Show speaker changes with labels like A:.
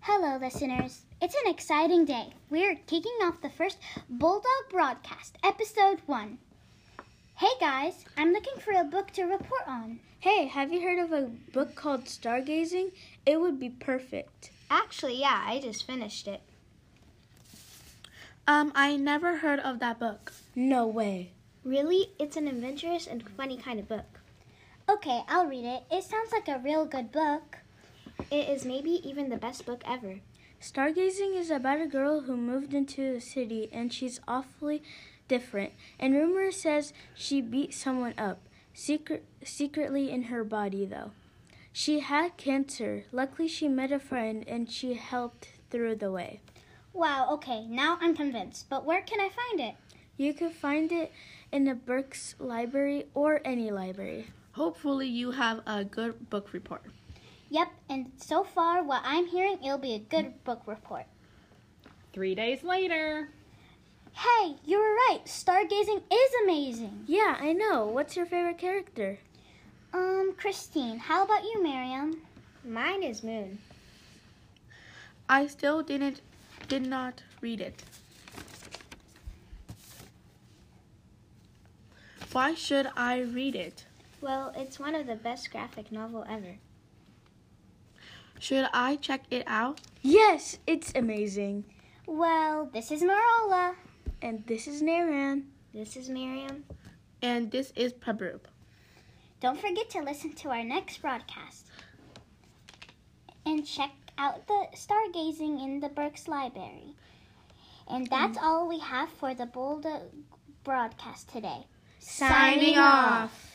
A: Hello, listeners. It's an exciting day. We're kicking off the first Bulldog broadcast, episode one. Hey, guys, I'm looking for a book to report on.
B: Hey, have you heard of a book called Stargazing? It would be perfect.
C: Actually, yeah, I just finished it.
D: Um, I never heard of that book.
B: No way.
C: Really? It's an adventurous and funny kind of book.
A: Okay, I'll read it. It sounds like a real good book.
C: It is maybe even the best book ever.
B: Stargazing is about a girl who moved into the city and she's awfully different. And rumor says she beat someone up, secret, secretly in her body though. She had cancer. Luckily, she met a friend and she helped through the way.
A: Wow, okay, now I'm convinced. But where can I find it?
B: You can find it in the Burke's library or any library.
D: Hopefully, you have a good book report.
A: Yep, and so far, what I'm hearing, it'll be a good book report.
E: Three days later.
A: Hey, you were right. Stargazing is amazing.
B: Yeah, I know. What's your favorite character?
A: Um, Christine, how about you, Miriam?
C: Mine is Moon.
D: I still didn't did not read it. Why should I read it?
C: Well, it's one of the best graphic novel ever.
D: Should I check it out?
B: Yes, it's amazing.
A: Well, this is Marola.
B: And this is Naran.
C: This is Miriam.
D: And this is Pabroop.
A: Don't forget to listen to our next broadcast and check out the stargazing in the Burke's Library. And
C: Mm.
A: that's all we have for the Bulldog broadcast today.
D: Signing off.